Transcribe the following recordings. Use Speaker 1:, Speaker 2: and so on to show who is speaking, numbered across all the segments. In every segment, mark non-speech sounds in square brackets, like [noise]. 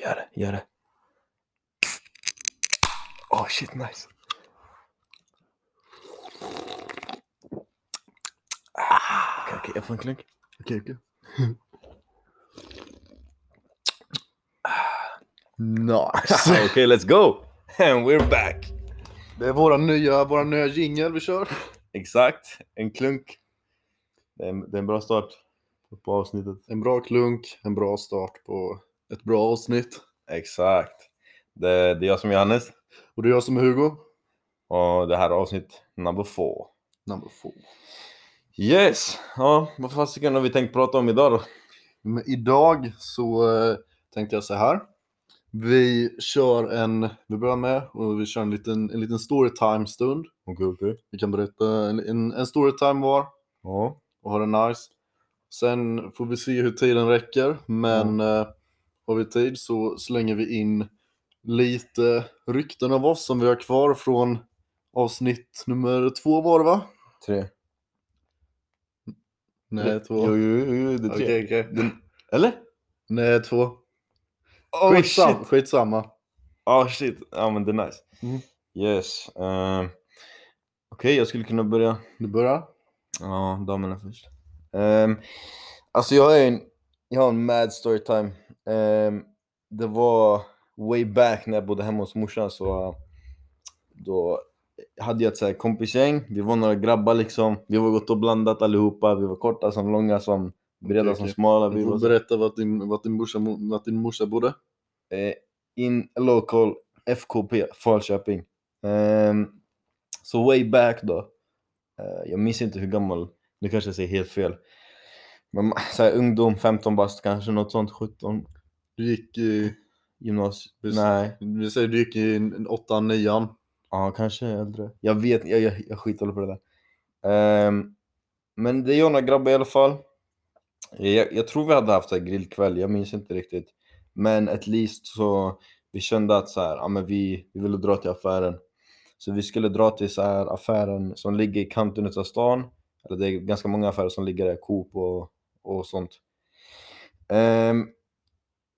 Speaker 1: gör det, gör det. Åh oh, shit [laughs] nice. Ah, Okej, okej, jag får en klunk.
Speaker 2: Okej, okej. Nice.
Speaker 1: Ah, Okej, let's go! And we're back!
Speaker 2: [laughs] Det är våra nya, våra nya jingel vi kör.
Speaker 1: Exakt, en klunk. Det är en, det är en bra start på avsnittet.
Speaker 2: En bra klunk, en bra start på ett bra avsnitt.
Speaker 1: Exakt. Det, det är jag som är Johannes
Speaker 2: Och det är jag som är Hugo.
Speaker 1: och det här är avsnitt number four.
Speaker 2: Number four.
Speaker 1: Yes! Ja, vad fasiken har vi tänkt prata om idag då?
Speaker 2: Men idag så eh, tänkte jag så här. Vi kör en, vi börjar med och vi kör en liten, en liten storytime-stund.
Speaker 1: Okej, okej.
Speaker 2: Vi kan berätta en, en, en storytime var
Speaker 1: Ja.
Speaker 2: och ha det nice. Sen får vi se hur tiden räcker, men eh, har vi tid så slänger vi in lite rykten av oss som vi har kvar från avsnitt nummer två var det va?
Speaker 1: Tre.
Speaker 2: Nej, två.
Speaker 1: Jo, jo, jo, jo, det är tre.
Speaker 2: Okej, okej.
Speaker 1: Eller?
Speaker 2: Nej, två.
Speaker 1: Oh,
Speaker 2: Skitsam, Skitsamma.
Speaker 1: Ja, Ah, shit. Ja, men det är nice.
Speaker 2: Mm.
Speaker 1: Yes. eh, Okej, jag skulle kunna börja.
Speaker 2: Du börjar?
Speaker 1: Ja, damerna först. Um, alltså, jag har en, jag har en mad storytime. Ehm, det var way back när jag bodde hemma hos morsan. Så äh, då hade jag ett så här kompisgäng. Vi var några grabbar liksom. Vi var gott och blandat allihopa. Vi var korta som långa som breda
Speaker 2: Okej,
Speaker 1: som
Speaker 2: okej. Alltså
Speaker 1: smala. Vi
Speaker 2: Du
Speaker 1: var
Speaker 2: får
Speaker 1: så-
Speaker 2: berätta vart din, vart din, morsa, vart din morsa bodde.
Speaker 1: eh, in local FKP Falköping. Ehm, så way back då. Eh, jag minns inte hur gammal, nu kanske jag säger helt fel. Men ma- så här, ungdom, 15 bast kanske, något sånt, 17,
Speaker 2: Du gick i,
Speaker 1: gymnasium,
Speaker 2: Precis.
Speaker 1: nej,
Speaker 2: vi säger du gick i en- en åttan, nian.
Speaker 1: ja kanske äldre. Jag vet, jag, jag, jag skiter på det där. Ehm, men det är jag några grabbar i alla fall. Jag, jag tror vi hade haft så här grillkväll, jag minns inte riktigt. Men at least så vi kände att så här, ja, men vi, vi ville dra till affären. Så vi skulle dra till så här affären som ligger i kanten utav stan. Eller det är ganska många affärer som ligger där, Coop och, och sånt. Ehm,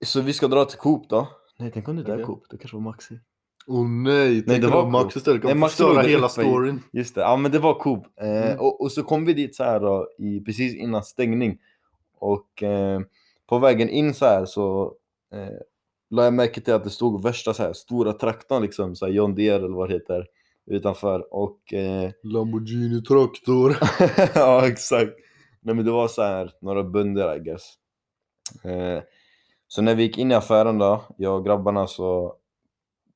Speaker 1: så vi ska dra till Coop då. Nej, tänk om det inte är
Speaker 2: Okej.
Speaker 1: Coop, det kanske var Maxi.
Speaker 2: Åh oh, nej, tänk
Speaker 1: det
Speaker 2: om
Speaker 1: var
Speaker 2: Max
Speaker 1: coolt.
Speaker 2: istället
Speaker 1: Nej,
Speaker 2: kommer
Speaker 1: Max
Speaker 2: förstöra
Speaker 1: trodde
Speaker 2: hela
Speaker 1: uppe i-
Speaker 2: storyn.
Speaker 1: Just det, ja men det var Coop. Eh,
Speaker 2: Mm.
Speaker 1: och, och så kom vi dit så här då, i, precis innan stängning. Och eh, på vägen in så här så eh, la jag märke till att det stod värsta så här stora traktorn liksom, så här John Deere eller vad det heter, utanför. Och eh,
Speaker 2: Lamborghini traktor.
Speaker 1: [laughs] ja, exakt. Nej, men det var så här, några bönder I guess. Eh, så när vi gick in i affären då, jag och grabbarna, så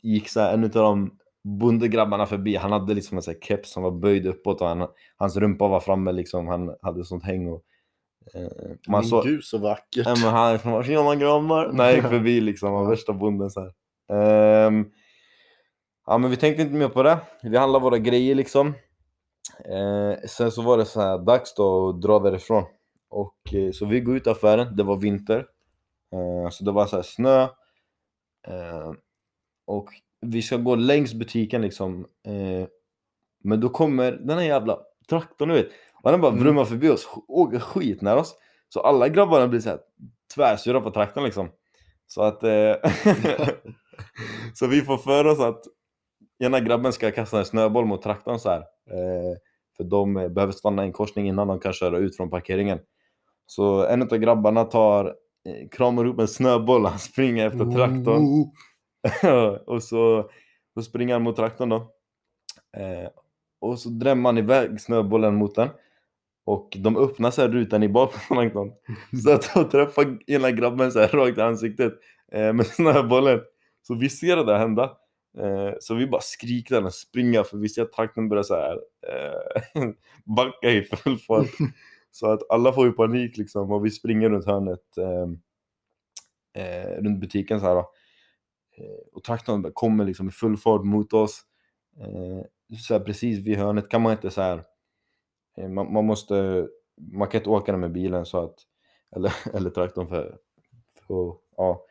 Speaker 1: gick så här, en av de bondegrabbarna förbi. Han hade liksom en så här keps som var böjd uppåt och han, hans rumpa var framme liksom. Han hade sånt häng och... Eh, man
Speaker 2: Men
Speaker 1: såg...
Speaker 2: gud så vackert.
Speaker 1: Nej men han är från Tjena grabbar! När jag gick förbi liksom, var värsta bonden så här. Ehm, ja men vi tänkte inte mer på det. Vi handlade våra grejer liksom. Eh, sen så var det så här dags då att dra därifrån. Och, eh, så vi går ut i affären, det var vinter. Eh, så det var så här snö. Eh, och vi ska gå längs butiken liksom. Eh, men då kommer den här jävla traktorn du vet. Och den bara
Speaker 2: Mm.
Speaker 1: vrummar förbi oss, sk- åker skitnära oss. Så alla grabbarna blir så här tvärsura på traktorn liksom. Så att... Eh, [laughs] så vi får för oss att ena grabben ska kasta en snöboll mot traktorn så här. Eh, för de eh, behöver stanna i en korsning innan de kan köra ut från parkeringen. Så en av grabbarna tar, eh, kramar upp en snöboll, han springer efter traktorn.
Speaker 2: Oh,
Speaker 1: [laughs] och så, så springer han mot traktorn då. Eh, och så drämmer han iväg snöbollen mot den. Och de öppnar så här rutan i bak på traktorn. Så att de träffar ena grabben så här rakt i ansiktet eh, med snöbollen. Så vi ser det där hända. Eh, så vi bara skriker och springer för vi ser att traktorn börjar så här eh, [laughs] backa i full fart. Så att alla får ju panik liksom och vi springer runt hörnet, eh, eh, runt butiken så här då. Eh, och traktorn bara kommer liksom i full fart mot oss. Eh, så här precis vid hörnet kan man inte så här, eh, man, man måste, man kan inte åka den med bilen så att, eller, [laughs] eller traktorn för, för ja.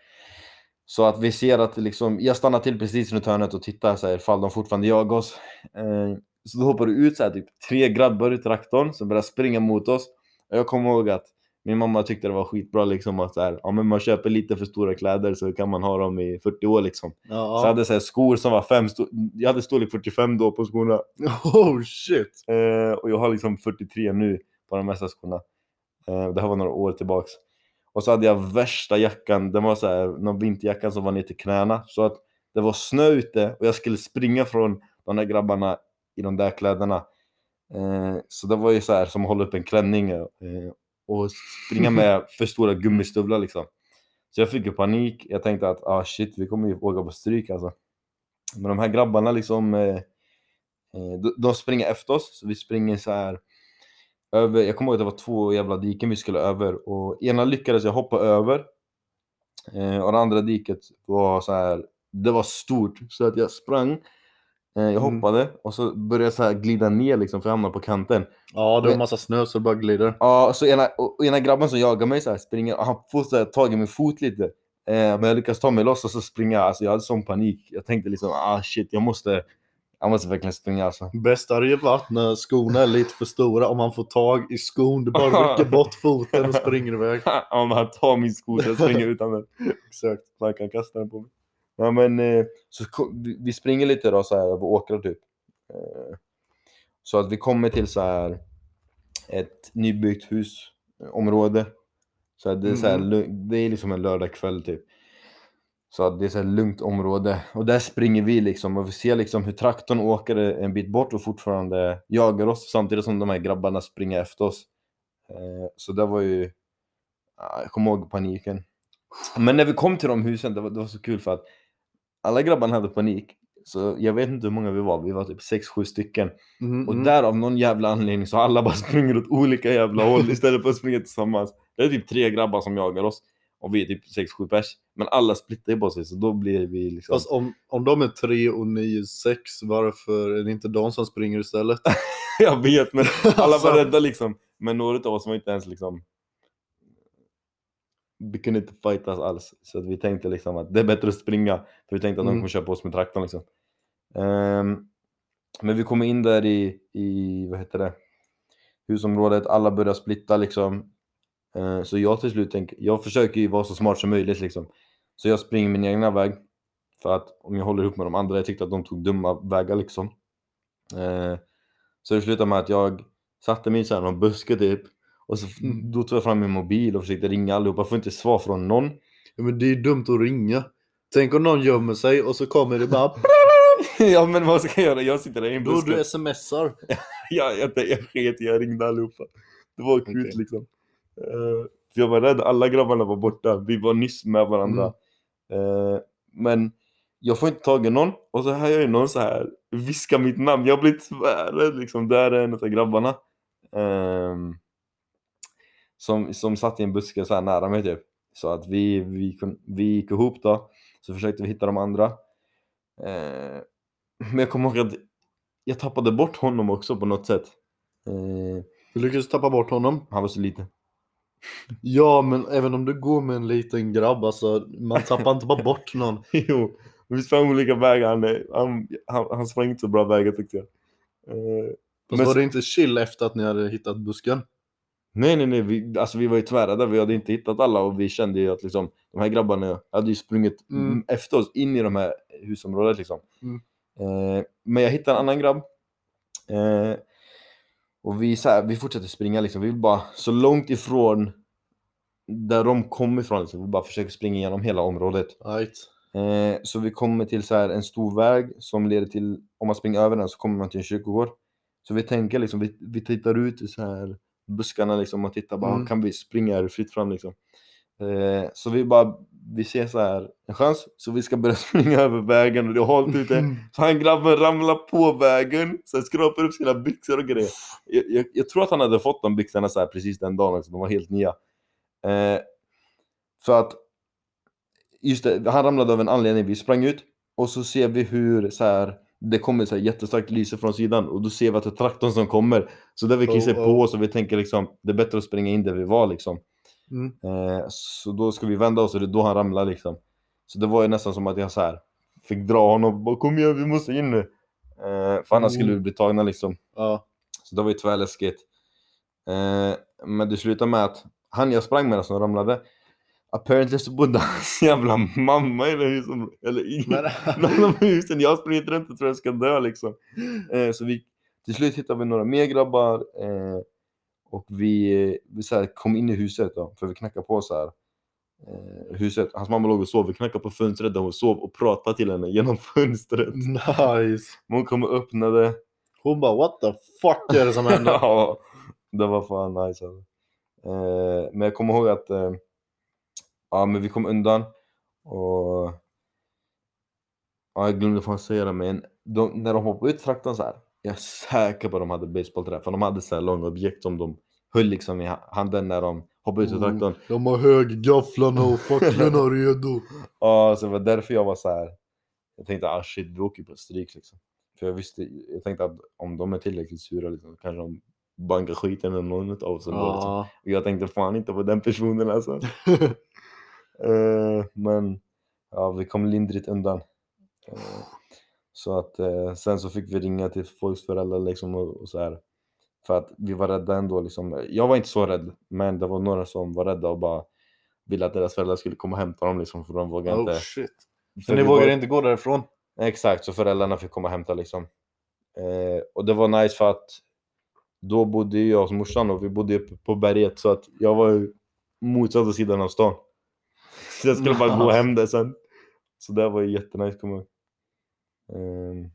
Speaker 1: Så att vi ser att liksom, jag stannar till precis runt hörnet och tittar så här, ifall de fortfarande jagar oss. Eh, så då hoppar det ut så här, typ tre grabbar ur traktorn som börjar springa mot oss. Och jag kommer ihåg att min mamma tyckte det var skitbra liksom att så här, ja, men man köper lite för stora kläder så kan man ha dem i 40 år liksom. Så jag
Speaker 2: Ja.
Speaker 1: hade så här, skor som var fem, sto- jag hade storlek 45 då på skorna.
Speaker 2: Oh shit!
Speaker 1: Eh, och jag har liksom 43 nu på de mesta skorna. Eh, det här var några år tillbaks. Och så hade jag värsta jackan, den var så här, någon vinterjacka som var ner till knäna. Så att det var snö ute och jag skulle springa från de där grabbarna i de där kläderna. Eh, så det var ju så här som att hålla upp en klänning eh, och springa med för stora gummistövlar liksom. Så jag fick ju panik. Jag tänkte att ah shit, vi kommer ju åka på stryk alltså. Men de här grabbarna liksom, eh, eh, de- de springer efter oss. Så vi springer så här över, jag kommer ihåg att det var två jävla diken vi skulle över och ena lyckades jag hoppa över. Eh, och det andra diket var så här, det var stort så att jag sprang. Eh, jag
Speaker 2: Mm.
Speaker 1: hoppade och så började jag så här glida ner liksom för jag hamnade på kanten.
Speaker 2: Ja, det var
Speaker 1: Men-
Speaker 2: massa snö så det bara glider.
Speaker 1: Ja, så ena, och och ena grabben som jagar mig så här springer och han får så här, tag i min fot lite. Eh, men jag lyckas ta mig loss och så springer jag. Alltså, jag hade sån panik. Jag tänkte liksom ah shit, jag måste, jag måste verkligen springa alltså. [laughs]
Speaker 2: Bäst hade ju varit när skorna är lite för stora, om man får tag i skon, du bara
Speaker 1: [laughs]
Speaker 2: rycker bort foten och springer iväg.
Speaker 1: Om han tar min sko så jag springer utan den.
Speaker 2: Exakt.
Speaker 1: Man kan kasta den på mig. Ja, men eh, så ko- vi- vi springer lite då så här över åkrar typ. Eh, Så att vi kommer till så här ett nybyggt husområde. Så att det är så här,
Speaker 2: Mhm.
Speaker 1: lu- det är liksom en lördagkväll typ. Så att det är så här lugnt område och där springer vi liksom och vi ser liksom hur traktorn åker en bit bort och fortfarande jagar oss samtidigt som de här grabbarna springer efter oss. Eh, Så det var ju, ah, jag kommer ihåg paniken. Men när vi kom till de husen, det var, det var så kul för att alla grabbarna hade panik. Så jag vet inte hur många vi var, vi var typ 6-7 stycken.
Speaker 2: Mm,
Speaker 1: Och
Speaker 2: mm.
Speaker 1: där av någon jävla anledning så alla bara [laughs] springer åt olika
Speaker 2: [laughs]
Speaker 1: jävla håll istället för att springa tillsammans. Det är typ tre grabbar som jagar oss och vi är typ 6-7 pers. Men alla splittar ju på sig så då blir vi liksom...
Speaker 2: Fast om, om de är tre och ni är sex, varför är det inte de som springer istället?
Speaker 1: [laughs] jag vet men [laughs] alla
Speaker 2: Alltså.
Speaker 1: var rädda liksom. Men några av oss var inte ens liksom... Vi kunde inte fightas alls. Så att vi tänkte liksom att det är bättre att springa. För vi tänkte att de
Speaker 2: Mm.
Speaker 1: kommer köpa oss med traktorn liksom. Ehm, men vi kommer in där i, i, vad heter det, husområdet. Alla börjar splitta liksom. Ehm, så jag till slut tänker, jag försöker ju vara så smart som möjligt liksom. Så jag springer min egna väg. För att om jag håller upp med de andra, jag tyckte att de tog dumma vägar liksom. Eh, så det slutade med att jag satte mig i så här någon buske typ. Och så,
Speaker 2: Mm.
Speaker 1: då tog jag fram min mobil och försökte ringa allihopa. Jag får inte svar från någon. [laughs]
Speaker 2: Ja, men det är ju dumt att ringa. Tänk om någon gömmer sig och så kommer det bara
Speaker 1: ja men vad ska jag göra? Jag sitter där i en
Speaker 2: Då
Speaker 1: buske. [laughs]
Speaker 2: du smsar.
Speaker 1: jag, jag, jag sket i, jag ringde allihopa. Det var akut
Speaker 2: Okej.
Speaker 1: liksom. Eh, för jag var rädd, alla grabbarna var borta. Vi var nyss med varandra. Eh, men jag får inte tag i någon och så hör jag ju någon så här viska mitt namn. Jag blir tvärrädd liksom. Där är en av grabbarna. ehm, som, som satt i en buske så här nära mig typ. Så att vi, vi, kun- vi gick ihop då. Så försökte vi hitta de andra. Eh, men jag kommer ihåg att jag tappade bort honom också på något sätt. Eh,
Speaker 2: Du lyckas tappa bort honom.
Speaker 1: han var så liten.
Speaker 2: Ja, men även om du går med en liten grabb, alltså, man tappar inte bara bort någon.
Speaker 1: [laughs] jo, vi sprang olika vägar. Han, eh, han, han, han sprang inte så bra vägar tyckte jag. Eh,
Speaker 2: Fast
Speaker 1: Men-
Speaker 2: var det inte chill efter att ni hade hittat busken?
Speaker 1: nej, nej, nej. Vi, alltså, vi var ju tvärrädda. Vi hade inte hittat alla och vi kände ju att liksom, de här grabbarna hade ju sprungit
Speaker 2: Mm.
Speaker 1: m- efter oss in i de här husområdet. Liksom.
Speaker 2: Mm.
Speaker 1: Eh, men jag hittade en annan grabb. Eh, och vi, så här, vi fortsätter springa. Liksom. Vi vill bara så långt ifrån där de kom ifrån. Liksom. Vi bara försöker springa igenom hela området.
Speaker 2: Right.
Speaker 1: Eh, så vi kommer till så här en stor väg som leder till, om man springer över den så kommer man till en kyrkogård. Så vi tänker liksom, vi, vi tittar ut i så här buskarna liksom och tittar bara,
Speaker 2: Mm.
Speaker 1: kan vi springa här fritt fram liksom? Eh, så vi bara, vi ser så här en chans, så vi ska börja [laughs] springa över vägen och det är halt
Speaker 2: Mm.
Speaker 1: ute. Så han grabben ramlar på vägen, så han skrapar upp sina byxor och grejer. Jag, jag, jag tror att han hade fått de byxorna så här precis den dagen, så de var helt nya. Eh, för att just det, han ramlade av en anledning. Vi sprang ut och så ser vi hur så här, det kommer så här jättestarkt lyse från sidan och då ser vi att det är traktorn som kommer. Så där vi
Speaker 2: Oh,
Speaker 1: kissar
Speaker 2: oh.
Speaker 1: på oss och vi tänker liksom det är bättre att springa in där vi var liksom.
Speaker 2: Mm.
Speaker 1: Eh, så då ska vi vända oss och det är då han ramlar liksom. Så det var ju nästan som att jag så här fick dra honom och bara kom igen vi måste in nu. Eh, för annars skulle vi bli tagna liksom.
Speaker 2: Ja.
Speaker 1: Så det var ju tvärläskigt. Eh, men det slutade med att han jag sprang med som ramlade, apparently så bodde hans [laughs] jävla mamma i det huset, eller i
Speaker 2: Men,
Speaker 1: någon av husen. Jag springer runt och tror jag ska dö liksom. Eh, så vi, till slut hittade vi några mer grabbar eh, och vi, eh, vi så här, kom in i huset då, för vi knackade på så här. Eh, huset. Hans mamma låg och sov, vi knackade på fönstret där hon sov och pratade till henne genom fönstret.
Speaker 2: nice.
Speaker 1: Men Hon kom och öppnade.
Speaker 2: Hon bara what the fuck är det som händer?
Speaker 1: ja, det var fan nice alltså. eh, Men jag kommer ihåg att eh, ja, men vi kom undan och ja, jag glömde fan säga det men de, när de hoppade ut traktorn så här. Jag är säker på att de hade basebollträ för de hade så här långa objekt som de höll liksom i ha- handen när de hoppade ut ur
Speaker 2: Mm.
Speaker 1: traktorn.
Speaker 2: De har högafflarna och facklorna redo.
Speaker 1: Ja, så det var därför jag var så här. Jag tänkte ah shit, vi åker ju på stryk liksom. För jag visste, jag tänkte att om de är tillräckligt sura liksom, kanske de bankar skiten med någon av oss. ändå, liksom.
Speaker 2: Ja.
Speaker 1: Och jag tänkte fan inte på den personen alltså. Eh, men ja, vi kom lindrigt undan. Eh, så att eh, sen så fick vi ringa till folks föräldrar liksom och, och så här. För att vi var rädda ändå liksom. Jag var inte så rädd, men det var några som var rädda och bara ville att deras föräldrar skulle komma och hämta dem liksom för de vågade
Speaker 2: Oh
Speaker 1: inte.
Speaker 2: shit.
Speaker 1: för
Speaker 2: Så ni
Speaker 1: vi
Speaker 2: vågar
Speaker 1: var-
Speaker 2: inte gå därifrån?
Speaker 1: Exakt, så föräldrarna fick komma och hämta liksom. Eh, och det var nice för att då bodde ju jag och morsan och vi bodde uppe på berget så att jag var ju motsatta sidan av stan. [laughs] Så jag skulle bara gå hem där sen. Så det var ju jättenice kommer jag ihåg. Eh,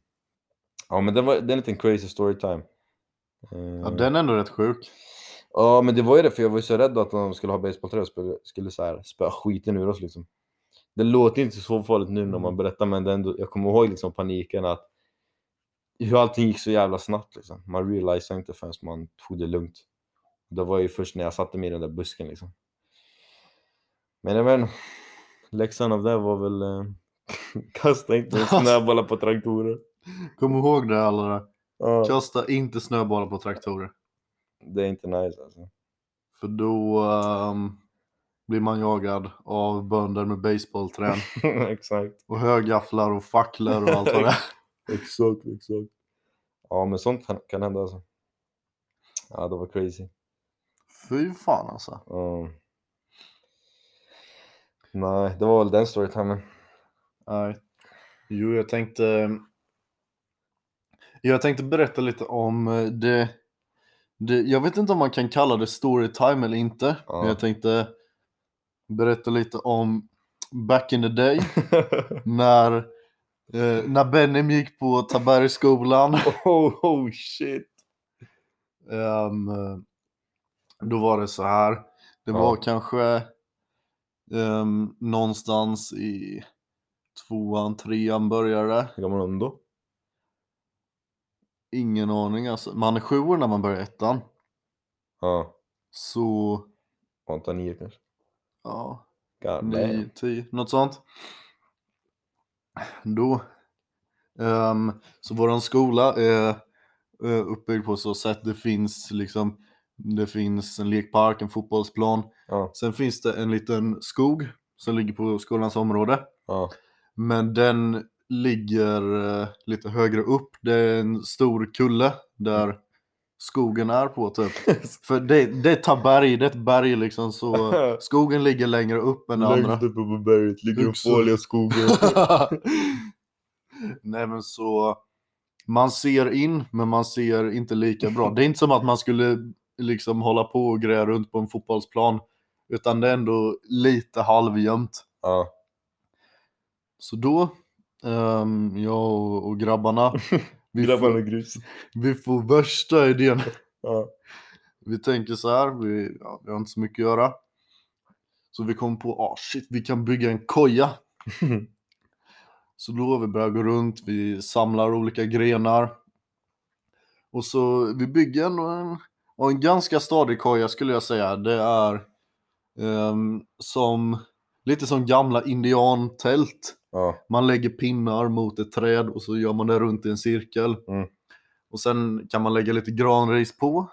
Speaker 1: ja men det var det är en liten crazy storytime. Eh,
Speaker 2: Ja, den är ändå rätt sjuk.
Speaker 1: ja men det var ju det för jag var ju så rädd att de skulle ha basebollträ och skulle, skulle så här spöa skiten ur oss liksom. Det låter inte så farligt nu när man berättar men det är ändå, jag kommer ihåg liksom paniken att hur allting gick så jävla snabbt liksom. Man realisade inte förrän man tog det lugnt. Det var ju först när jag satte mig i den där busken liksom. Men jag vet inte. läxan av det var väl eh, [laughs] kasta inte snöbollar på traktorer.
Speaker 2: Kom ihåg det alla där.
Speaker 1: Ja,
Speaker 2: Kasta inte snöbollar på traktorer.
Speaker 1: det är inte nice alltså. [laughs]
Speaker 2: För då ehm, blir man jagad av bönder med baseballträn
Speaker 1: Exakt.
Speaker 2: och högafflar och facklor och allt vad det är.
Speaker 1: Exakt, exakt. Ja, men sånt kan, kan hända alltså. Ja, det var crazy.
Speaker 2: [laughs] Fy fan alltså.
Speaker 1: Ja. Nej, det var väl den storytimen.
Speaker 2: Nej. Jo, jag tänkte... Jag tänkte berätta lite om eh, det... det jag vet inte om man kan kalla det storytime eller inte.
Speaker 1: Ja.
Speaker 2: Men jag tänkte berätta lite om back in the day när, eh, när Benim gick på Tabergsskolan.
Speaker 1: [laughs] oh, oh shit!
Speaker 2: Ehm, eh, då var det så här. Det
Speaker 1: Ja.
Speaker 2: var kanske ehm, någonstans i tvåan, trean började.
Speaker 1: Hur gammal var hon då?
Speaker 2: Ingen aning alltså. Man är sju år när man börjar ettan.
Speaker 1: Ja,
Speaker 2: Så,
Speaker 1: var inte nio kanske?
Speaker 2: ja,
Speaker 1: God
Speaker 2: nio,
Speaker 1: damn.
Speaker 2: tio, något sånt. Då. ehm, så våran skola är eh, uppbyggd på så sätt det finns liksom, det finns en lekpark, en fotbollsplan.
Speaker 1: Ja,
Speaker 2: Sen finns det en liten skog som ligger på skolans område.
Speaker 1: ja,
Speaker 2: Men den ligger eh, lite högre upp. Det är en stor kulle där skogen är
Speaker 1: [laughs]
Speaker 2: på typ. För det, det är Taberg, det är ett berg liksom så
Speaker 1: [laughs]
Speaker 2: skogen ligger längre upp än det andra.
Speaker 1: uppe på berget ligger
Speaker 2: den farliga
Speaker 1: skogen.
Speaker 2: [laughs] Nej men så, man ser in men man ser inte lika bra. Det är inte som att man skulle liksom hålla på och greja runt på en fotbollsplan. Utan det är ändå lite halvjämnt.
Speaker 1: [laughs] ja,
Speaker 2: Så då, ehm, jag och, och grabbarna, vi,
Speaker 1: grabbarna
Speaker 2: får,
Speaker 1: och grus.
Speaker 2: vi får värsta idén.
Speaker 1: Ja,
Speaker 2: Vi tänker så här, vi, ja, vi har inte så mycket att göra. Så vi kom på, ah shit, vi kan bygga en koja. så då har vi börjat gå runt, vi samlar olika grenar. Och så vi bygger ändå en, och en ganska stadig koja skulle jag säga. Det är ehm, som, lite som gamla indiantält.
Speaker 1: ja,
Speaker 2: Man lägger pinnar mot ett träd och så gör man det runt i en cirkel.
Speaker 1: Mm.
Speaker 2: Och sen kan man lägga lite granris på.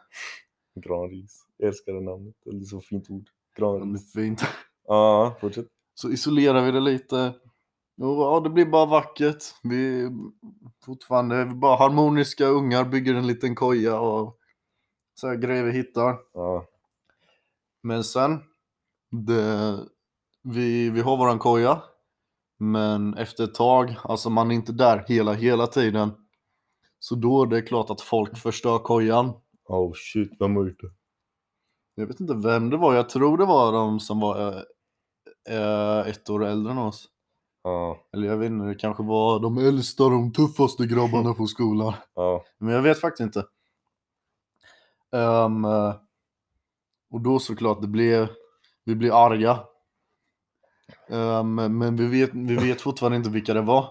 Speaker 1: granris. Jag älskar det namnet. Det är så fint ord.
Speaker 2: Ja, men
Speaker 1: Granris.
Speaker 2: Fint.
Speaker 1: Ja, fortsätt.
Speaker 2: Så isolerar vi det lite. Och ja, det blir bara vackert. Vi är fortfarande vi är bara harmoniska ungar, bygger en liten koja och så här grejer vi hittar.
Speaker 1: Ja,
Speaker 2: Men sen, det, vi, vi har våran koja. Men efter ett tag, alltså man är inte där hela, hela tiden. Så då är det klart att folk förstör kojan.
Speaker 1: Oh shit, vem har gjort det?
Speaker 2: Jag vet inte vem det var, jag tror det var de som var eh, eh, ett år äldre än oss.
Speaker 1: Ja,
Speaker 2: Eller jag vet inte, det kanske var de äldsta, de tuffaste grabbarna på skolan.
Speaker 1: ja,
Speaker 2: [laughs] Men jag vet faktiskt inte. Ehm, eh, och då såklart, det blev, vi blev arga. Ehm, men vi vet, vi vet fortfarande inte vilka det var.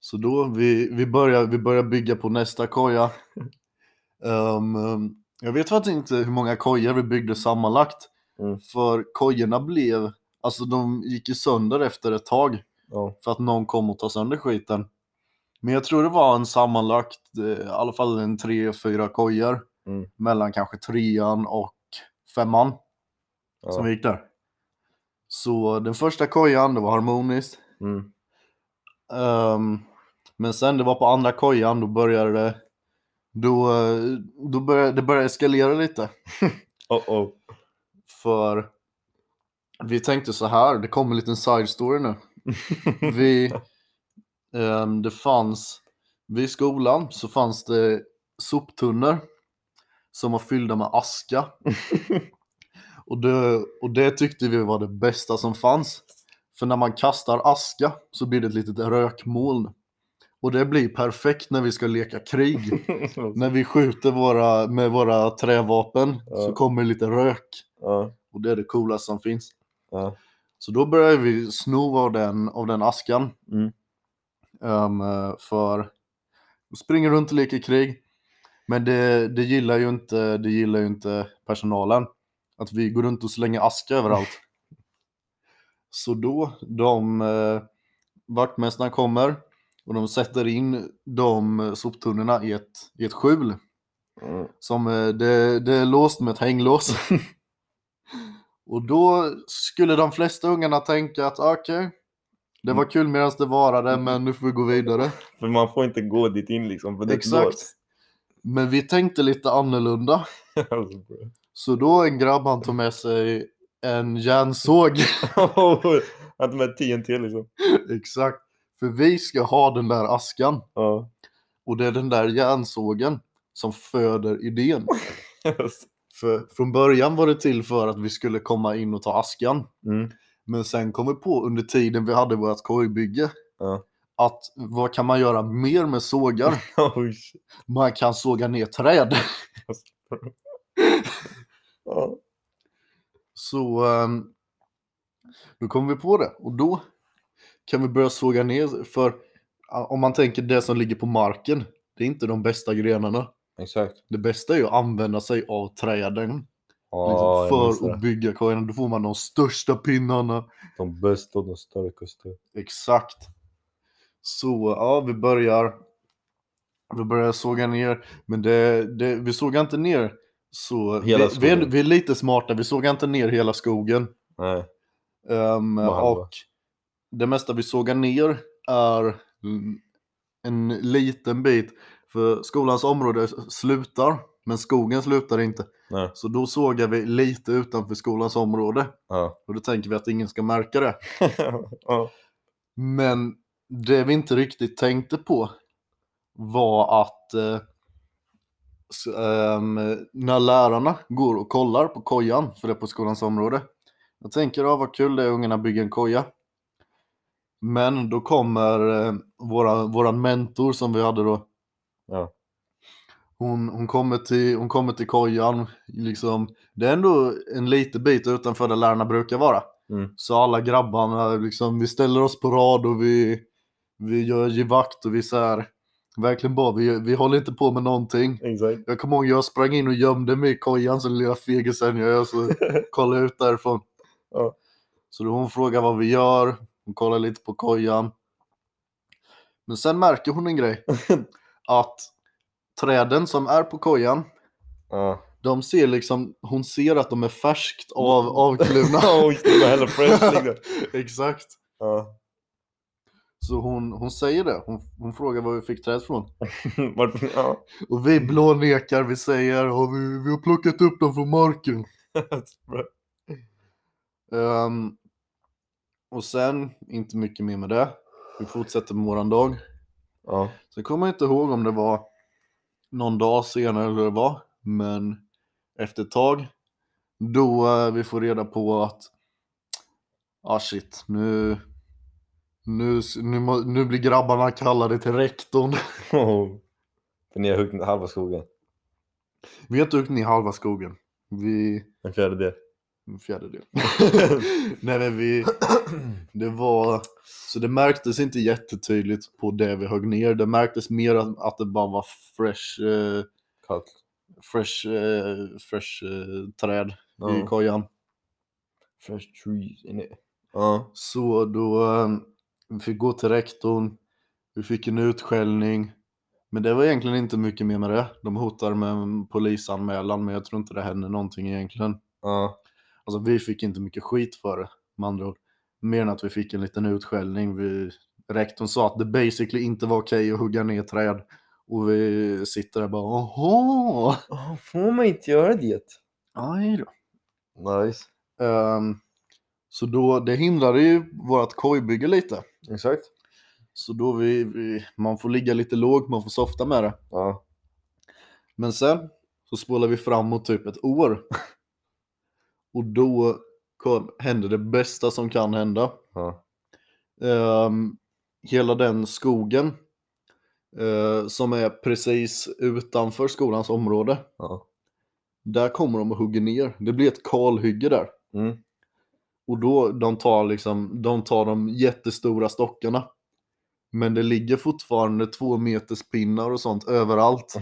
Speaker 2: Så då, vi, vi, börjar, vi börjar bygga på
Speaker 1: [laughs]
Speaker 2: nästa koja. Ehm, ehm, jag vet faktiskt inte hur många kojor vi byggde sammanlagt.
Speaker 1: Mm.
Speaker 2: För kojorna blev, alltså de gick ju sönder efter ett tag
Speaker 1: ja.
Speaker 2: för att någon kom och tog sönder skiten. Men jag tror det var en sammanlagt, eh, i alla fall en tre, fyra kojor
Speaker 1: Mm.
Speaker 2: mellan kanske trean och femman
Speaker 1: ja.
Speaker 2: som vi gick där. Så den första kojan, det var harmoniskt.
Speaker 1: Mm.
Speaker 2: Ehm, men sen det var på andra kojan, då började det, då, eh, då började, det började eskalera lite.
Speaker 1: Oh, [laughs] oh.
Speaker 2: För vi tänkte så här, det kommer en liten side story nu. Vi, ehm, det fanns, vid skolan så fanns det soptunnor som var fyllda med aska. och, det, och det tyckte vi var det bästa som fanns. För när man kastar aska så blir det ett litet rökmoln. Och det blir perfekt när vi ska leka
Speaker 1: [laughs]
Speaker 2: krig. när vi skjuter våra, med våra trävapen
Speaker 1: Ja.
Speaker 2: så kommer det lite rök.
Speaker 1: ja,
Speaker 2: Och det är det coolaste som finns.
Speaker 1: ja.
Speaker 2: Så då började vi sno av den, av den askan.
Speaker 1: Mm.
Speaker 2: Ehm, eh, för och springer runt och leker krig. Men det, det, gillar ju inte, det gillar ju inte personalen. Att vi går runt och slänger
Speaker 1: [laughs]
Speaker 2: aska överallt. Så då, de eh, vaktmästarna kommer och de sätter in de soptunnorna i ett, i ett skjul.
Speaker 1: Mm.
Speaker 2: Som eh, det, det är låst med ett hänglås. och då skulle de flesta ungarna tänka att ah, okej, det var kul medan det varade men nu får vi gå vidare.
Speaker 1: För man får inte gå dit in liksom. För det är ett
Speaker 2: Exakt.
Speaker 1: lås.
Speaker 2: Men vi tänkte lite annorlunda.
Speaker 1: [laughs] alltså, bro. [laughs]
Speaker 2: Så då en grabb han tog med sig en järnsåg. [laughs]
Speaker 1: Att de är TNT liksom.
Speaker 2: Exakt. För vi ska ha den där askan.
Speaker 1: Ja. [laughs]
Speaker 2: Och det är den där järnsågen som föder idén. För från början var det till för att vi skulle komma in och ta askan.
Speaker 1: Mm.
Speaker 2: Men sen kom vi på under tiden vi hade vårt kojbygge
Speaker 1: Ja.
Speaker 2: att vad kan man göra mer med sågar?
Speaker 1: [laughs] Oh, shit.
Speaker 2: Man kan såga ner träd.
Speaker 1: Ja.
Speaker 2: Så ehm, då kom vi på det och då kan vi börja såga ner. För eh, om man tänker det som ligger på marken, det är inte de bästa grenarna.
Speaker 1: Exakt.
Speaker 2: Det bästa är ju att använda sig av träden
Speaker 1: Ja, jag
Speaker 2: liksom,
Speaker 1: minns
Speaker 2: för
Speaker 1: det.
Speaker 2: att bygga kojorna. Då får man de största pinnarna.
Speaker 1: De bästa och de starkaste.
Speaker 2: Exakt. Så ja, vi börjar. Vi börjar såga ner, men det, det, vi såg inte ner så...
Speaker 1: Hela
Speaker 2: vi, vi, är,
Speaker 1: skogen.
Speaker 2: vi är lite smarta, vi såg inte ner hela skogen.
Speaker 1: Nej.
Speaker 2: Ehm,
Speaker 1: Bara halva.
Speaker 2: och det mesta vi sågar ner är mm, en liten bit. För skolans område s- slutar, men skogen slutar inte.
Speaker 1: Nej.
Speaker 2: Så då sågar vi lite utanför skolans område.
Speaker 1: Ja. [laughs]
Speaker 2: Och då tänker vi att ingen ska märka det.
Speaker 1: ja.
Speaker 2: Men det vi inte riktigt tänkte på var att eh, s- ehm, när lärarna går och kollar på kojan, för det är på skolans område. Jag tänker, ah, vad kul det är ungarna bygger en koja. Men då kommer eh, våra, våran mentor som vi hade då.
Speaker 1: Ja.
Speaker 2: Hon, hon, kommer till, hon kommer till kojan, liksom. Det är ändå en liten bit utanför där lärarna brukar vara.
Speaker 1: Mm.
Speaker 2: Så alla grabbarna, liksom, vi ställer oss på rad och vi, vi gör givakt och vi så här, verkligen bara, vi, vi håller inte på med någonting.
Speaker 1: Exakt.
Speaker 2: Jag kommer ihåg jag sprang in och gömde mig i kojan som lilla fegisen jag är, så kollade ut därifrån.
Speaker 1: Ja.
Speaker 2: Så då hon frågar vad vi gör, hon kollar lite på kojan. Men sen märker hon en grej, att träden som är på kojan,
Speaker 1: Ja. [laughs]
Speaker 2: de ser liksom, hon ser att de är färskt
Speaker 1: [laughs]
Speaker 2: av, avkluvna.
Speaker 1: Oh, shit, det var hella fresh liksom.
Speaker 2: [laughs] Exakt.
Speaker 1: Ja. [laughs]
Speaker 2: Så hon, hon säger det. Hon, hon frågar var vi fick trädet från.
Speaker 1: Varför? Ja. [laughs]
Speaker 2: Och vi blånekar, vi säger att vi, vi har plockat upp dem från marken. Ehm, och sen, inte mycket mer med det. Vi fortsätter med våran dag.
Speaker 1: ja.
Speaker 2: Sen kommer jag inte ihåg om det var någon dag senare eller vad det var, men efter ett tag då eh, vi får reda på att ah shit, nu, nu, nu, må- nu blir grabbarna kallade till rektorn. [laughs]
Speaker 1: Oh. [laughs] För ni har huggit halva skogen.
Speaker 2: Vi har inte huggit ner halva skogen. Vi...
Speaker 1: En fjärdedel.
Speaker 2: En fjärdedel. [laughs] Nej men vi... Det var... Så det märktes inte jättetydligt på det vi högg ner. Det märktes mer att, att det bara var fresh... Eh,
Speaker 1: Kallt.
Speaker 2: fresh, eh, fresh eh, träd i
Speaker 1: Ja.
Speaker 2: kojan.
Speaker 1: Fresh trees in it. Ja.
Speaker 2: Så då eh, vi fick gå till rektorn, vi fick en utskällning. Men det var egentligen inte mycket mer med det. De hotade med en polisanmälan, men jag tror inte det hände någonting egentligen.
Speaker 1: Ja.
Speaker 2: Alltså vi fick inte mycket skit för det, med andra ord. Mer än att vi fick en liten utskällning. Vi, rektorn sa att det basically inte var okej att hugga ner träd. Och vi sitter där bara, åhå,
Speaker 1: Oh, får man inte göra det?
Speaker 2: aj då.
Speaker 1: Nice.
Speaker 2: Ehm, så då, det hindrade ju vårt kojbygge lite.
Speaker 1: Exakt.
Speaker 2: Så då vi, vi, man får ligga lite lågt, man får softa med det.
Speaker 1: Ja.
Speaker 2: Men sen så spolar vi framåt typ ett år. Och då kom, hände det bästa som kan hända.
Speaker 1: Ja.
Speaker 2: Ehm, hela den skogen eh, som är precis utanför skolans område.
Speaker 1: Ja.
Speaker 2: Där kommer de och hugger ner. Det blir ett kalhygge där.
Speaker 1: Mm.
Speaker 2: Och då de tar liksom, de tar de jättestora stockarna. Men det ligger fortfarande två meters pinnar och sånt överallt.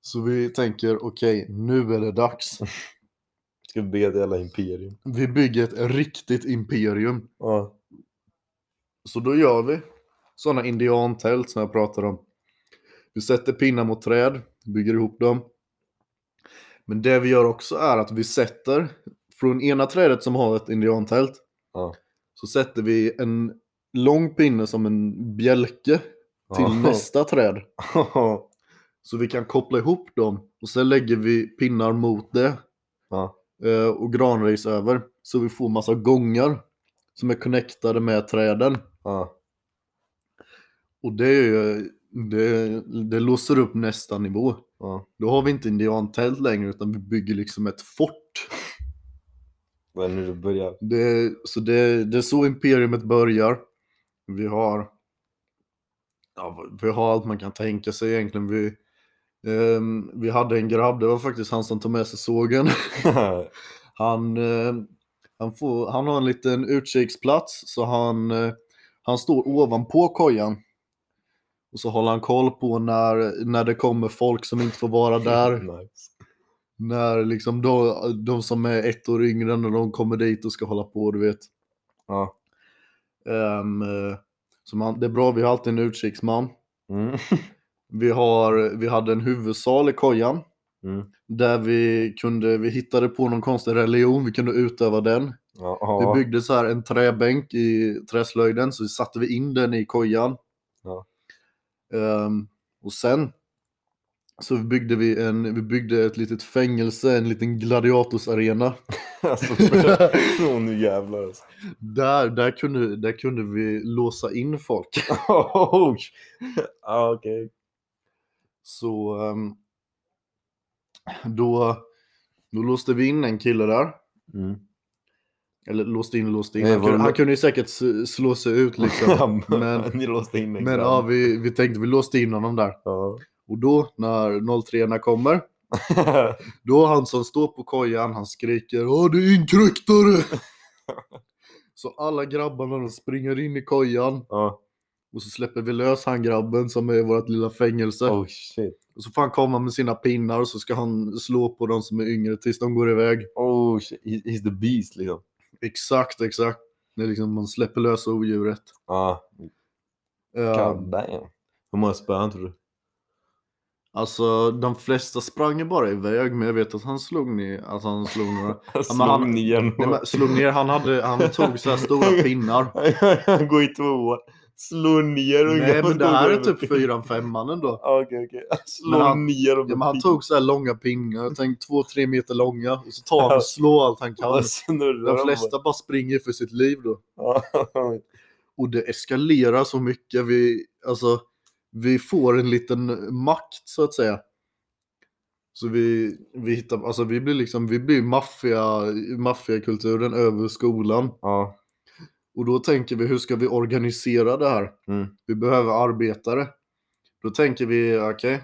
Speaker 2: Så vi tänker, okej, nu är det dags.
Speaker 1: Ska vi bygga ett jävla imperium.
Speaker 2: Vi bygger ett riktigt imperium.
Speaker 1: Ja.
Speaker 2: Så då gör vi sådana indiantält som jag pratade om. Vi sätter pinnar mot träd, bygger ihop dem. Men det vi gör också är att vi sätter, från ena trädet som har ett indiantält,
Speaker 1: Ja.
Speaker 2: så sätter vi en lång pinne som en bjälke till
Speaker 1: Ja. [laughs]
Speaker 2: nästa träd. Så vi kan koppla ihop dem och sen lägger vi pinnar mot det
Speaker 1: Ja.
Speaker 2: eh, och granris över. Så vi får massa gångar som är connectade med träden.
Speaker 1: Ja.
Speaker 2: Och det, är ju- det, det låser upp nästa nivå.
Speaker 1: Ja.
Speaker 2: Då har vi inte indiantält längre utan vi bygger liksom ett fort.
Speaker 1: Det är nu det [laughs] börjar.
Speaker 2: Det, så det, det är så imperiumet börjar. Vi har, ja, vi har allt man kan tänka sig egentligen. Vi, ehm, vi hade en grabb, det var faktiskt han som tog med sig sågen. Han, ehm, han, får, han har en liten utkiksplats så han, eh, han står ovanpå kojan. Och så håller han koll på när, när det kommer folk som inte får vara där.
Speaker 1: [laughs] Nice.
Speaker 2: När liksom de, de som är ett år yngre när de kommer dit och ska hålla på, du vet.
Speaker 1: Ja.
Speaker 2: Ehm, eh, så man, det är bra, vi har alltid en utkiksman.
Speaker 1: Mm.
Speaker 2: Vi, har, vi hade en huvudsal i kojan.
Speaker 1: Mm.
Speaker 2: Där vi, kunde, vi hittade på någon konstig religion, vi kunde utöva den.
Speaker 1: Ja.
Speaker 2: Vi
Speaker 1: Ja.
Speaker 2: byggde så här en träbänk i träslöjden, så satte vi in den i kojan.
Speaker 1: Ja.
Speaker 2: Ehm, och sen så byggde vi, en, vi byggde ett litet fängelse, en liten gladiatorsarena.
Speaker 1: [laughs] Alltså, för- [laughs] så nu jävlar alltså.
Speaker 2: Där, där, kunde, där kunde vi låsa in folk.
Speaker 1: Oh, ah, okej.
Speaker 2: Så ehm, då, då låste vi in en kille där.
Speaker 1: Mm.
Speaker 2: Eller låste in, låste in.
Speaker 1: Nej,
Speaker 2: Han
Speaker 1: var det
Speaker 2: kunde, han
Speaker 1: lo-
Speaker 2: kunde ju säkert s- slå sig
Speaker 1: [laughs]
Speaker 2: ut liksom. men
Speaker 1: Ni låste in en
Speaker 2: men ja,
Speaker 1: grann.
Speaker 2: vi, vi tänkte vi låste in honom där.
Speaker 1: Ja. [laughs]
Speaker 2: Och då när 03 kommer, då han som står på kojan, han skriker Åh du inkräktare! så alla grabbarna de springer in i kojan
Speaker 1: ja.
Speaker 2: och så släpper vi lös han grabben som är i vårt lilla fängelse.
Speaker 1: Oh shit.
Speaker 2: Och så får han komma med sina pinnar och så ska han slå på de som är yngre tills de går iväg.
Speaker 1: Oh shit. He- He's the beast liksom.
Speaker 2: Exakt, exakt. Det är liksom man släpper lös odjuret.
Speaker 1: Ja.
Speaker 2: Eh,
Speaker 1: God damn. Hur många spön tror du?
Speaker 2: alltså de flesta sprang ju bara iväg men jag vet att han slog ner, att han slog
Speaker 1: [laughs]
Speaker 2: några.
Speaker 1: Slog
Speaker 2: men han-
Speaker 1: ner
Speaker 2: Nej,
Speaker 1: någon. [laughs]
Speaker 2: men slog ner, han, hade, han tog så här stora pinnar.
Speaker 1: Han går i två år. Slå ner ungar
Speaker 2: Nej
Speaker 1: på
Speaker 2: men det här är
Speaker 1: skolgolvet.
Speaker 2: typ fyran, femman ändå.
Speaker 1: Ja, Okej, okej. [laughs] Slå
Speaker 2: Men han-
Speaker 1: ner dem.
Speaker 2: Ja, typ. men han tog så här långa pingar, tänk två, tre meter långa. Och så tar han och slår allt han kan.
Speaker 1: och snurrar
Speaker 2: De
Speaker 1: dem
Speaker 2: flesta bara springer för sitt liv då.
Speaker 1: bara. Ja. [laughs]
Speaker 2: Och det eskalerar så mycket. Vi, alltså, vi får en liten makt så att säga. Så vi, vi, hittar, alltså, vi blir liksom, vi blir maffia, maffiakulturen över skolan.
Speaker 1: Ja.
Speaker 2: Och då tänker vi, hur ska vi organisera det här?
Speaker 1: Mm.
Speaker 2: Vi behöver arbetare. Då tänker vi, okej,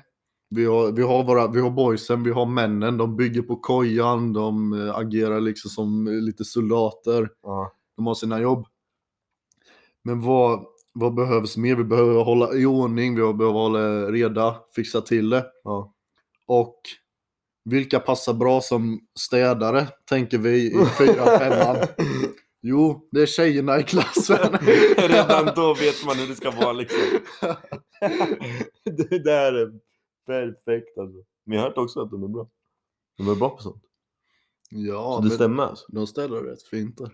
Speaker 2: vi, har, vi, har våra- vi har boysen, vi har männen, de bygger på kojan, de eh, agerar liksom som eh, lite soldater.
Speaker 1: Ja.
Speaker 2: De har sina jobb. Men vad, vad behövs mer? Vi behöver hålla i ordning, vi behöver hålla reda, fixa till det.
Speaker 1: Ja.
Speaker 2: Och vilka passar bra som städare, tänker vi i
Speaker 1: [laughs]
Speaker 2: fyran, femman. Jo, det är tjejerna i klassen.
Speaker 1: Redan då vet man hur det ska vara [laughs] liksom. det där är perfekt alltså. Men jag har hört också att de är bra. De är bra på sånt.
Speaker 2: Ja,
Speaker 1: så det
Speaker 2: men
Speaker 1: stämmer [laughs] alltså.
Speaker 2: de ställer rätt fint
Speaker 1: [laughs]
Speaker 2: där.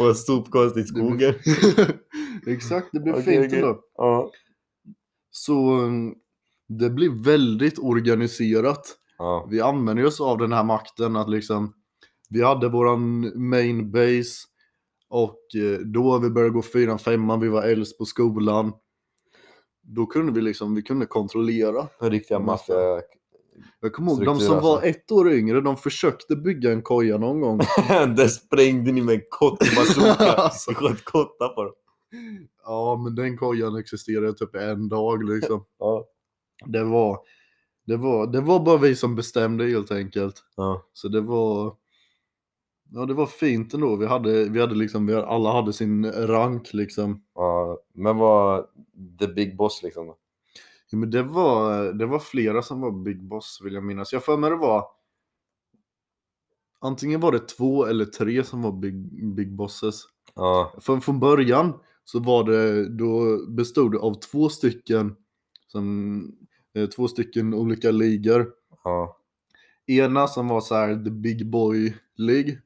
Speaker 1: Och en sopkonst i skogen.
Speaker 2: Exakt, det blir
Speaker 1: Okej,
Speaker 2: fint
Speaker 1: okej.
Speaker 2: ändå.
Speaker 1: Ja.
Speaker 2: Så mm, det blir väldigt organiserat.
Speaker 1: Ja.
Speaker 2: Vi använder oss av den här makten att liksom, vi hade våran main base och eh, då vi började gå fyran, femman, vi var äldst på skolan. Då kunde vi liksom, vi kunde kontrollera.
Speaker 1: Riktiga maffia...
Speaker 2: Jag kommer ihåg, de
Speaker 1: Struktur,
Speaker 2: som var
Speaker 1: alltså.
Speaker 2: ett år yngre, de försökte bygga en koja någon gång.
Speaker 1: [laughs] Där sprängde ni med en [laughs] kottebazooka.
Speaker 2: Alltså.
Speaker 1: Vi sköt kottar på dem.
Speaker 2: Ja, men den kojan existerade typ en dag liksom.
Speaker 1: Ja.
Speaker 2: Det var, det var, det var bara vi som bestämde helt enkelt.
Speaker 1: Ja.
Speaker 2: Så det var, ja det var fint ändå. Vi hade, vi hade liksom, vi hade, alla hade sin rank liksom.
Speaker 1: ja. Men vad... The Big Boss liksom då?
Speaker 2: Ja, men det var, det var flera som var Big Boss vill jag minnas. Jag för mig det var, antingen var det två eller tre som var Big, big Bosses.
Speaker 1: Ja.
Speaker 2: Från, från början så var det, då bestod det av två stycken, som, eh, två stycken olika ligor.
Speaker 1: Ja.
Speaker 2: Ena som var så här the big boy League.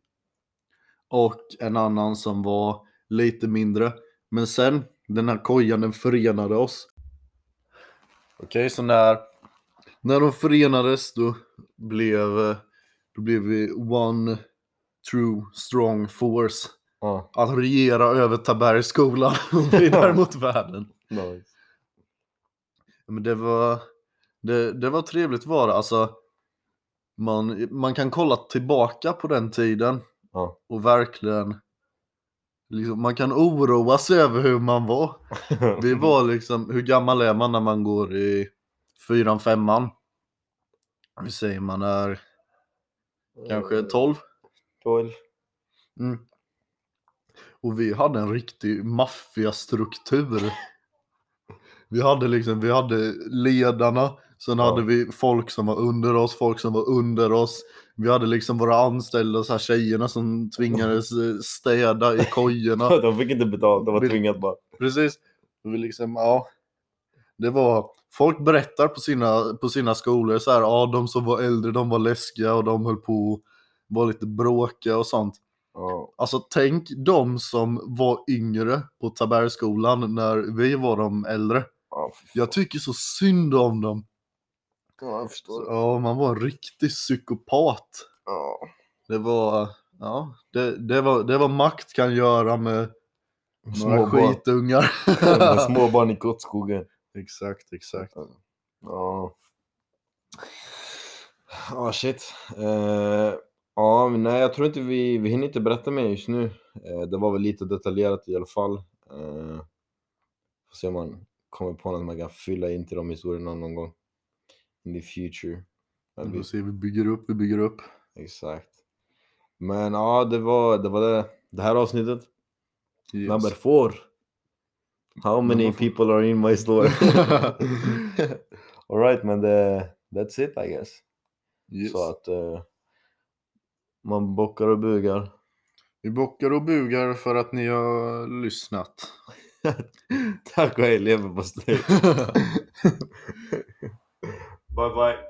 Speaker 2: Och en annan som var lite mindre. Men sen, den här kojan den förenade oss. Okej, så när, när de förenades då blev, eh, då blev vi one true strong force.
Speaker 1: Ja.
Speaker 2: Att regera över Tabergs skola [laughs] och vidare mot världen.
Speaker 1: [laughs] Nice.
Speaker 2: Men det var, det, det var trevligt var det. Alltså, man, man kan kolla tillbaka på den tiden
Speaker 1: Ja.
Speaker 2: och verkligen, liksom, man kan oroa sig över hur man var. Vi
Speaker 1: Mm.
Speaker 2: var liksom, hur gammal är man när man går i fyran, femman? Vi säger man är
Speaker 1: Eh,
Speaker 2: kanske 12.
Speaker 1: 12.
Speaker 2: Mm. Och vi hade en riktig maffiastruktur. Vi hade liksom, vi hade ledarna, sen
Speaker 1: Ja.
Speaker 2: hade vi folk som var under oss, folk som var under oss. Vi hade liksom våra anställda, så här tjejerna som tvingades eh, städa i
Speaker 1: [laughs] [laughs]
Speaker 2: kojorna.
Speaker 1: De fick inte betalt, de var
Speaker 2: Vill-
Speaker 1: tvingade bara.
Speaker 2: Precis. Och vi liksom, ja. Det var, folk berättar på sina, på sina skolor så här, ja de som var äldre de var läskiga och de höll på att vara lite bråkiga och sånt.
Speaker 1: Ja.
Speaker 2: Alltså tänk de som var yngre på Tabergskolan när vi var de äldre.
Speaker 1: Ja, fy
Speaker 2: Jag tycker så synd om dem.
Speaker 1: fan, jag förstår.
Speaker 2: Ja, man var en riktig psykopat.
Speaker 1: Ja.
Speaker 2: Det var, ja, det, det var, det var makt kan göra med några
Speaker 1: Småbarn. [laughs]
Speaker 2: skitungar.
Speaker 1: Med småbarn i kottskogen.
Speaker 2: [laughs] exakt, exakt.
Speaker 1: Ja. Ja, shit. Eh, ja, men nej, jag tror inte vi, vi hinner inte berätta mer just nu. Eh, det var väl lite detaljerat i alla fall. Eh, får se om man kommer på något man kan fylla in till de historierna någon gång. In the future. That'd be
Speaker 2: Vi ser, vi bygger upp, vi bygger upp.
Speaker 1: Exakt. Men ja, det var det, var det. det här avsnittet.
Speaker 2: Yes.
Speaker 1: Number four. How many
Speaker 2: Number four.
Speaker 1: people are in my
Speaker 2: [laughs]
Speaker 1: store? [laughs] Alright, men det, that's it I guess.
Speaker 2: yes.
Speaker 1: Så att eh, man bockar och [laughs] bugar.
Speaker 2: Vi bockar och bugar för att ni har lyssnat.
Speaker 1: [laughs] Tack och hej leverpastej. bye bye.